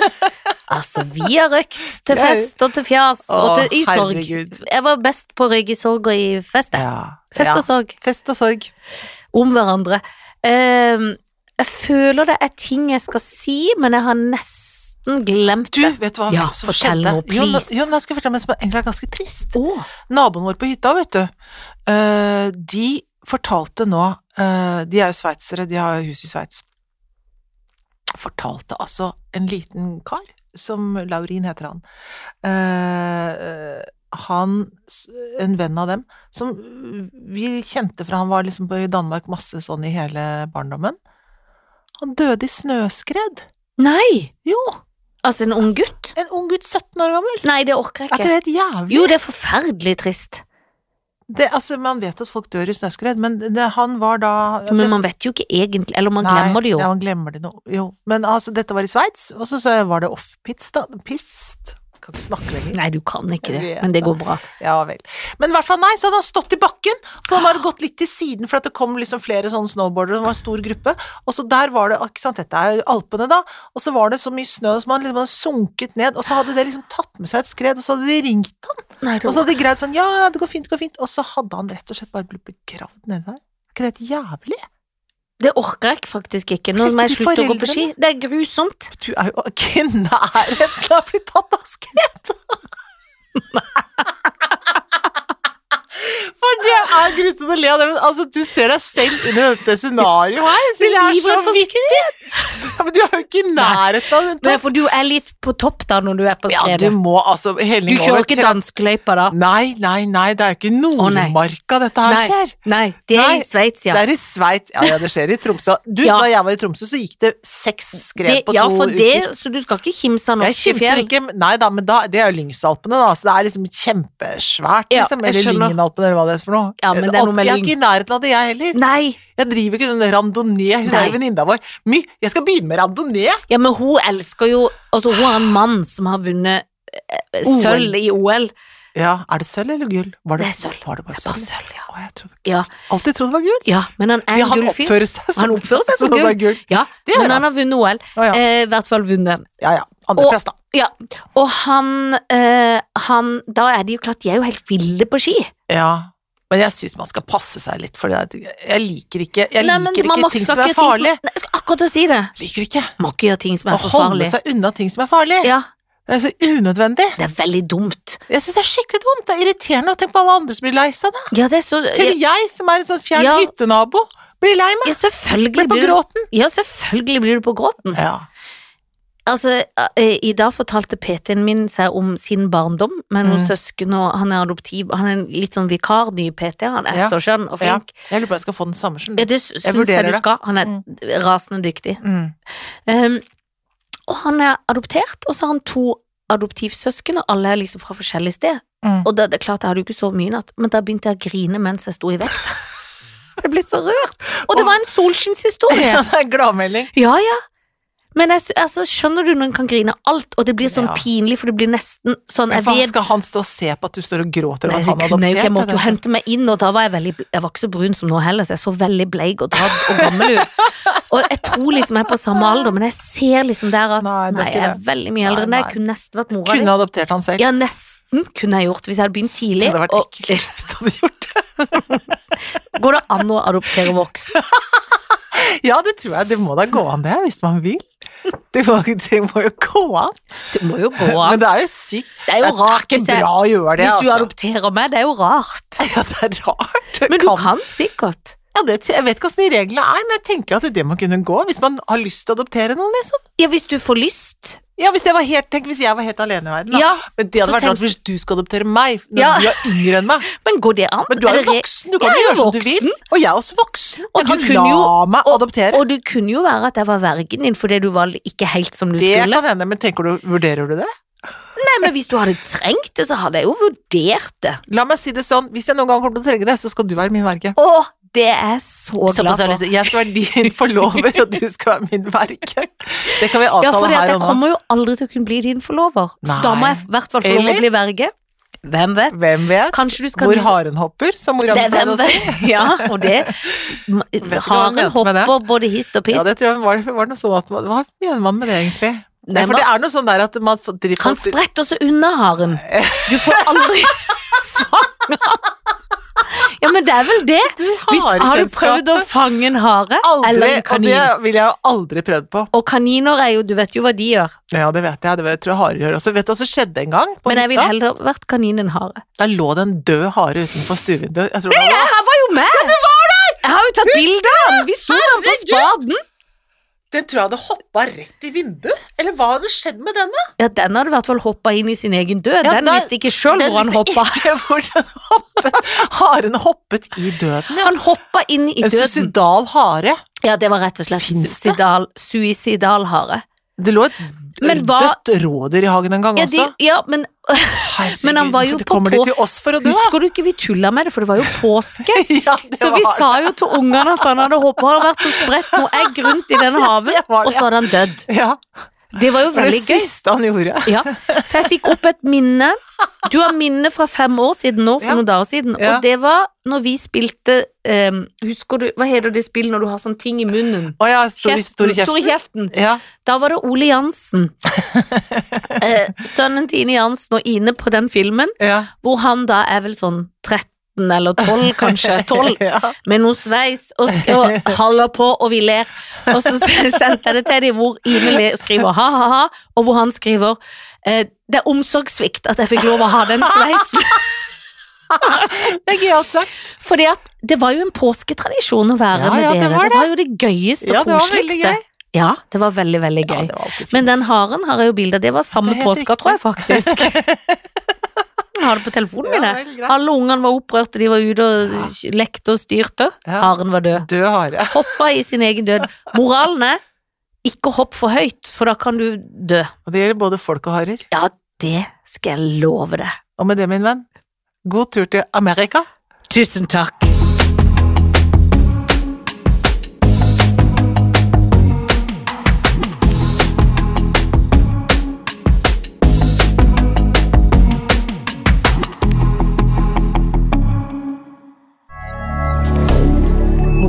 Altså, vi har røkt til
Jeg-
fest og til fjas og
Å,
til i sorg.
herregud.
Jeg var best på røyk i sorg og i fest. jeg.
Ja.
Fest
ja.
og sorg.
Fest og sorg.
om hverandre. Ehm, jeg føler det er ting jeg skal si, men jeg har nesten glemt
Du,
det.
vet du hva
Ja,
som
fortell
skjedde?
nå,
Jo, men-
please.
Jo, men jeg skal fortelle meg som egentlig er ganske trist.
Å,
Naboen vår på hytta, vet du, eh, de fortalte nå eh, De er jo sveitsere, de har jo hus i Sveits. Fortalte altså en liten kar, som Laurin heter han eh, Han, s- en venn av dem, som vi kjente fra han var liksom på- i Danmark masse sånn i hele barndommen. Han døde i snøskred.
Nei!
Jo!
Altså, en ung gutt?
En ung gutt, 17 år gammel.
Nei, det orker jeg
Er
ikke.
ikke det helt jævlig?
Jo, det er forferdelig trist.
Det, altså, man vet at folk dør i snøskred, men det, han var da
Men man vet jo ikke egentlig, eller man
Nei,
glemmer det jo.
Ja, man glemmer det nå. Jo. Men altså, dette var i Sveits, og så, så var det off-pist, da. Pist. Kan ikke snakke lenger.
Nei, du kan ikke det,
Jeg vet
men det
det.
går bra.
Ja vel. Men i hvert fall, nei, så hadde han stått i bakken, så han bare gått litt til siden, for at det kom liksom flere sånne snowboardere, det var en stor gruppe, og så der var det, ikke sant, dette er jo Alpene da, og så var det så mye snø, så man liksom hadde sunket ned, og så hadde det liksom tatt med seg et skred, og så hadde de ringt han,
Nei, det
og så hadde de greid sånn, ja, ja, det går fint, det går fint, og så hadde han rett og slett bare blitt begravd nede der. Er Ikke det helt jævlig?
Det orker jeg faktisk ikke. Nå må jeg
De
slutte å gå på ski.
foreldrene.
Det er grusomt.
Du er jo [laughs] ikke i nærheten av å bli tatt av skred. [laughs] For det er grusomt å le av det, men altså, du ser deg selv inn i dette scenarioet her. Jeg synes jeg
Livet
er
er for
så vittig. Ja, men du er jo ikke i nærheten av den
Nei,
toppen.
for du er litt på topp da når du er på
Ja, du
skredet.
må altså
du
helling
kjører ikke
til-
danskløypa da?
Nei, nei, nei, det er jo ikke
nei.
Nordmarka dette her
Nei,
skjer.
Nei, det er
Nei,
i Sveits, ja.
Det er i Sveits. Ja, ja, det skjer i Tromsø. Du,
Ja.
da jeg var i Tromsø, så gikk det seks skred
Det,
på to
ja, for
uker.
det, så du skal ikke kimse av
Jeg
norske
kimser
fjell.
ikke, men- nei da, men da, det er jo Lyngsalpene, da, så det er liksom kjempesvært,
Ja,
liksom.
jeg
Eller
skjønner.
Lyngenalpene, eller hva det er for noe.
Ja, men det er noe med
jeg er
lyng.
ikke i nærheten av det, jeg heller.
Nei,
Jeg driver ikke sånn randonee, hun
Nei.
er jo venninna vår. My, jeg skal begynne med randonee!
ja, men hun elsker jo Altså, hun har en mann som har vunnet eh, sølv i OL.
Ja, er det sølv eller gull? Var
Det er sølv.
Var det bare
Det er bare
sølv?
sølv, ja.
Å, jeg trodde,
Ja,
alltid trodd det var gull.
ja. Men han er
Ja,
en
han
gull fyr.
oppfører seg som
Han oppfører seg som
[laughs] som det er
gull.
gull.
Ja,
Det gjør
men
han.
han har vunnet OL.
Å, ja.
Eh, I hvert fall vunnet.
ja ja. Andreplass, da.
Ja, og han, eh, han Da er det jo klart, de er jo helt ville på ski.
Ja. Men jeg syns man skal passe seg litt, for det er- jeg liker ikke, jeg
Nei, men
liker
man
ikke
må-
ting
skal
som
ikke
er
gjøre ting
farlig.
Nei, Jeg skal akkurat å si det.
Liker det ikke.
Må ikke gjøre ting som
Å
er for
holde
farlig.
seg unna ting som er farlig.
Ja,
Det er så unødvendig.
det er veldig dumt.
Jeg syns det er skikkelig dumt. Det er irriterende å tenke på alle andre som blir lei seg. Da.
Ja, det er så
Til
Ja,
jeg som er en sånn fjern
Ja.
hyttenabo, blir lei meg.
ja selvfølgelig
Blir på
blir du Mm.
gråten.
Ja, selvfølgelig blir du på gråten.
Ja.
Altså, eh, I dag fortalte PT-en min seg om sin barndom med noen
Mm.
søsken, og han er adoptiv. Han er en litt sånn vikar, ny PT. Han er
Ja.
så skjønn og
ja.
flink.
Jeg lurer på om jeg skal få den samme. skjønner
Ja,
du.
det s- syns
vurderer
jeg du
det.
skal. Han er rasende dyktig.
Mm.
Um, og han er adoptert, og så har han to adoptivsøsken, og alle er liksom fra forskjellig sted.
Mm.
Og det, det er klart, jeg hadde jo ikke sovet mye i natt, men da begynte jeg å grine mens jeg sto i
[laughs]
vekt. Jeg ble så rørt. Og det var en solskinnshistorie.
Ja, [laughs] det er gladmelding.
Ja, ja. Men jeg, sy- altså, skjønner du når en kan grine av alt, og det blir sånn
Ja.
pinlig, for det blir nesten sånn
Men
Jeg
faen,
vet
skal han stå og se på at du står og gråter
Nei,
over at
så
han
kunne jeg, jo ikke, jeg måtte jo
adopterte deg?
hente meg inn, og da var jeg veldig bl- Jeg var ikke så brun som nå heller, så jeg så veldig bleik og dradd og gammel ut. Og jeg tror liksom jeg er på samme alder, men jeg ser liksom der at
Nei,
Nei,
det er
jeg
ikke
er
det.
veldig mye eldre enn deg.
Nei,
Jeg kunne nesten vært mora
Kunne
di.
adoptert han selv.
Ja, nesten kunne jeg gjort hvis jeg hadde begynt
Det
tidlig.
hadde vært
og-
ekkelt hvis du hadde gjort det.
[laughs] Går det an å adoptere voksen?
Ja, det tror jeg. Det må da gå an, det, hvis man vil. Det må, det må jo gå an.
Det må jo gå an.
Men det er jo sykt.
Det er jo rart
ikke
hvis, jeg,
bra å gjøre det,
hvis du
altså.
adopterer meg. Det er jo rart.
[laughs] Ja, det er rart.
Men du kan sikkert.
Ja, det, jeg vet ikke åssen de reglene er, men jeg tenker at det må kunne gå hvis man har lyst til å adoptere noen, liksom.
Ja, hvis du får lyst.
Ja, hvis jeg var helt, Tenk hvis jeg var helt alene i verden, da.
Ja,
men det
så
hadde vært
tenk-
rart hvis du skal adoptere meg når
Ja.
du er yngre enn meg.
men går det an?
Men du er
Er det
jo
re-
voksen, du kan
Jeg
jo
er
gjøre som du
voksen.
vil. Og jeg er også voksen.
Og
Jeg
du
kan
kunne
la
jo-
meg adoptere.
Og det kunne jo være at jeg var vergen din fordi du var ikke helt som du
det
skulle.
kan hende, men tenker du, vurderer du det?
Nei, men hvis du hadde trengt det, så hadde jeg jo vurdert det.
La meg si det sånn, hvis jeg noen gang kommer til å trenge det, så skal du være min verge.
Å, det er jeg så
Såpass
glad
har jeg lyst
for.
til. Jeg skal være din forlover, og du skal være min verge. Det kan vi
Ja,
avtale
for
her
jeg
og nå.
kommer jo aldri til å kunne bli din forlover. Så da må
Nei.
jeg i hvert fall få lov å
Eller-
bli verge. Hvem vet?
Hvem vet?
Kanskje du skal
Hvor haren hopper, som mora
det,
mi
er
pleide
hvem
å si.
vet? Ja, og det
hva hun
Haren
mente med det.
hopper både hist og
Ja,
pist.
det tror jeg var, var noe sånn at man- Hva mener man med det, egentlig? Nei,
Nei,
for
man-
det er noe sånn der at man får- driver
Han
folk-
spretter så unna haren. Du får
[laughs]
aldri fange han. Ja, men det er vel det.
Det er
Hvis, har du prøvd å
harekjennskapet.
fange en hare eller
Aldri,
en
og
kanin? Og,
det vil jeg jo aldri prøvd på.
kaniner er jo, du vet jo hva de gjør.
Ja, det vet jeg. Det vet- tror jeg harer gjør også. Vet du hva som skjedde en gang? På
Men jeg ville
hytta?
heller vært kanin enn hare.
Der lå det en død hare utenfor stuevinduet. Jeg tror det var-
Jeg her var jo med! Ja, du var der! Jeg har jo tatt bilde av den! Vi sto der på spaden.
Den tror jeg hadde hoppa rett i vinduet. Eller hva hadde skjedd med den? da?
Ja, den hadde i hvert fall hoppa inn i sin egen død.
Ja,
den
da-
visste ikke sjøl
Den
hvor han
visste
hoppa.
[laughs] ikke hvor den hoppet. Haren hoppet i døden.
Han hoppa inn i
En
døden.
suicidal hare.
Ja, det var rett og slett
Finnes det?
suicidal, suicidal hare.
Det lå et
Men hva-
dødt rådyr i hagen en gang
Ja, de,
også.
ja men
Herregud,
Men han var jo
det
på-
kommer
på-
de til oss for å dø?
husker du ikke vi tulla med det, for det var jo påske?
[laughs] Ja, det
Så vi
var-
sa jo til ungene at han hadde håpet han hadde vært og spredt noe egg rundt
[laughs]
i den haven,
det var det.
og så hadde han dødd.
Ja,
Det var jo
det var det
veldig gøy.
siste han gjorde.
Ja, for jeg fikk opp et minne. Du har minne fra fem år siden nå, for
Ja.
noen dager siden.
Ja.
Og det var når vi spilte ehm, Husker du, hva heter det spillet når du har sånn ting i munnen?
Å ja, stor, stor
Kjeften, stor i
kjeft.
kjeften.
Ja,
Da var det Ole
[laughs]
Jansen. eh, sønnen til Ine Jansen og Ine på den filmen,
ja.
hvor han da er vel sånn 13 eller 12
[laughs]
kanskje. 12
Ja.
med noe sveis og, sk- og haller på, og vi ler. Og så s- [laughs] sendte jeg det til dem, hvor Ine le- skriver ha-ha-ha, og hvor han skriver eh, det er omsorgssvikt at jeg fikk lov å ha den sveisen.
[laughs] Det er gøyalt sagt.
Fordi at det var jo en påsketradisjon å være
Ja,
med
ja, det
dere.
var det.
var jo det gøyeste
Ja,
og
det var veldig
koseligste.
gøy.
Ja, det var veldig, veldig gøy.
Ja, det var alltid
Men
fint.
den haren har jeg jo bilde av. Det var samme
Det er helt
påska,
riktig.
tror jeg faktisk. Jeg [laughs] har det på telefonen min.
Ja,
jeg.
vel, greit.
Alle ungene var opprørte, de var ute og lekte og styrte.
Ja.
Haren var død.
Død hare.
Hoppa i sin egen død. Moralen er ikke hopp for høyt, for da kan du dø.
Og det gjelder både folk og harer.
Ja, det skal jeg love deg.
Og med det, min venn, god tur til Amerika.
Tusen takk.